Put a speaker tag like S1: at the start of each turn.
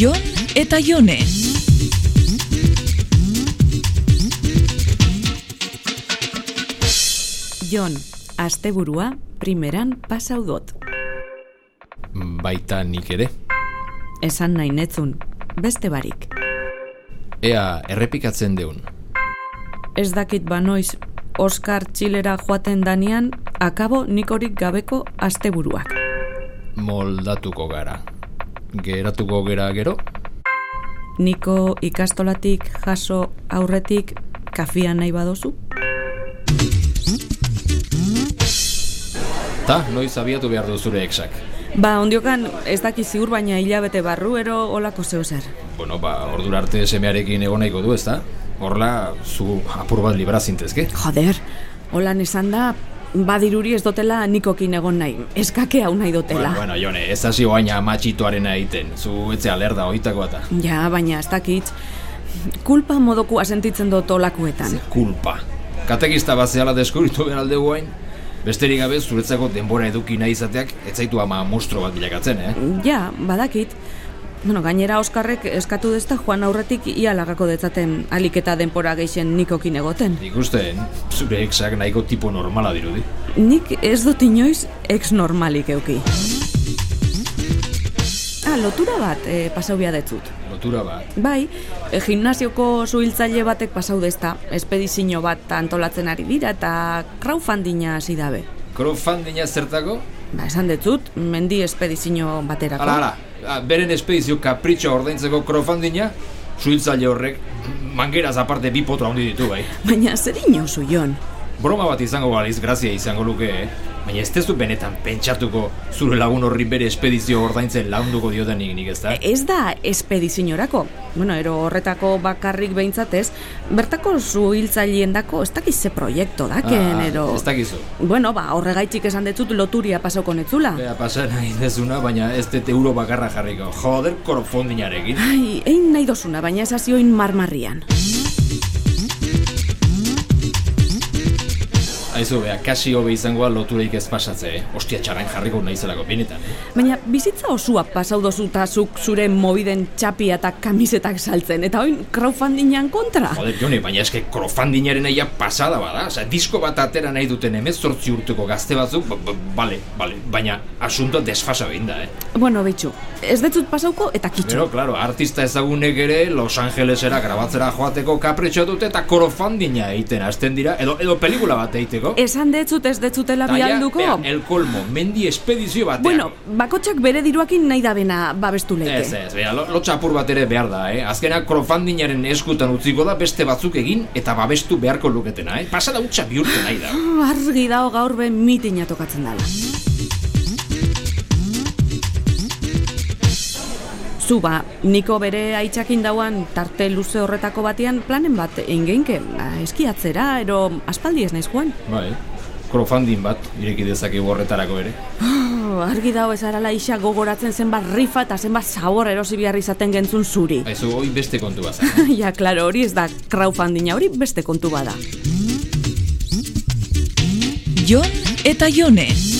S1: Jon eta Jone.
S2: Jon, asteburua primeran pasau dot.
S3: Baita nik ere.
S2: Esan nahi netzun, beste barik.
S3: Ea errepikatzen deun.
S2: Ez dakit banoiz, Oskar Txilera joaten danean, akabo nikorik gabeko asteburuak.
S3: Moldatuko gara. Geratuko gera gero?
S2: Niko ikastolatik jaso aurretik kafia nahi badozu?
S3: Ta, noiz abiatu behar du zure eksak.
S2: Ba, ondiokan, ez daki ziur baina hilabete barru ero olako zeu zer.
S3: Bueno, ba, ordura arte semearekin egon nahiko du, ezta? Horla, zu apur bat libra zintezke.
S2: Joder, holan esan da, badiruri ez dotela nikokin egon nahi, eskake hau nahi dotela.
S3: Bueno, bueno, Jone, ez hasi oaina matxituarena egiten. Zu etzea lerda oitako eta.
S2: Ja, baina ez dakit, kulpa modokua sentitzen dut olakoetan.
S3: Kulpa. Katekista bat zehala deskuritu behar alde guain. Besterik gabe zuretzako denbora eduki nahi izateak etzaitu ama monstro bat bilakatzen, eh?
S2: Ja, badakit. Bueno, gainera Oskarrek eskatu dezta joan aurretik ia lagako detzaten aliketa denpora geixen nikokin egoten.
S3: Nik uste, zure eksak nahiko tipo normala dirudi.
S2: Nik ez dut inoiz ex normalik euki. Ah, lotura bat e, pasau bia detzut.
S3: Lotura bat.
S2: Bai, e, gimnasioko zuhiltzaile batek pasau dezta, espedizio bat antolatzen ari dira eta crowdfundinga hasi dabe.
S3: Crowdfundinga zertako?
S2: Ba, esan detzut, mendi espedizio baterako.
S3: Hala, hala, Ah, beren espedizio kapritxo ordaintzeko crowdfundinga, suhiltzaile horrek mangeraz aparte bi potra handi ditu, bai.
S2: Baina zer inozu, Jon?
S3: Broma bat izango baliz grazia izango luke, eh? Baina ez tezu benetan pentsatuko zure lagun horri bere espedizio ordaintzen launduko diotenik nik ez da?
S2: E, Ez da espediziorako. Bueno, ero horretako bakarrik behintzatez, bertako zu hiltzaileendako ez dakiz ze proiektu daken,
S3: Ah,
S2: ero...
S3: Ez dakizu.
S2: Bueno, ba, horregaitik esan detzut loturia pasauko netzula.
S3: Bea pasa nahi dezuna, baina ez dut euro bakarra jarriko. Joder, crowdfundingarekin.
S2: Ai, egin nahi dozuna, baina ez azioin marmarrian.
S3: Aizu, bea, kasi hobe izangoa lotureik ez pasatze, eh? Ostia txaran jarriko naizelako benetan. eh?
S2: Baina bizitza osua pasau dozu ta zuk zure mobiden txapia eta kamisetak saltzen, eta oin crowdfundingan kontra.
S3: Joder, Jone, baina eske crowdfundingaren aia pasada bada. Osa, disko bat atera nahi duten emezortzi urteko gazte batzuk, ba- ba- bale, bale, baina asunto desfasa behin da, eh?
S2: Bueno, betxu, ez detzut pasauko eta kitxu.
S3: Gero, claro, artista ezagunek ere Los Angelesera grabatzera joateko kapritxo dute eta crowdfundinga egiten hasten dira, edo, edo pelikula bat egiteko.
S2: Esan detzut ez detzutela
S3: Eta ja,
S2: bialduko.
S3: bea, el kolmo, mendi espedizio batean.
S2: Bueno, bakotxak bere diruakin nahi dabena babestu leike.
S3: Ez, ez, bea, lo- lotxa apur bat ere behar da, eh? Azkena crowdfundingaren eskutan utziko da beste batzuk egin eta babestu beharko luketena, eh? Pasada utxa bihurtu nahi da.
S2: Ah, Argi dago gaur be mitina tokatzen dala. Zuba, niko bere aitzakin dauan tarte luze horretako batean planen bat engeinke, eskiatzera, ero aspaldi ez naiz joan.
S3: Bai, crowdfunding bat ireki dezakegu horretarako ere.
S2: Oh, argi dago ez arala isa gogoratzen zenbat rifa eta zenbat zabor erosi behar izaten gentzun zuri.
S3: Aizu, hoi beste kontu bat.
S2: ja, klaro, hori ez da crowdfundinga hori beste kontu bada.
S1: Jon eta Jone.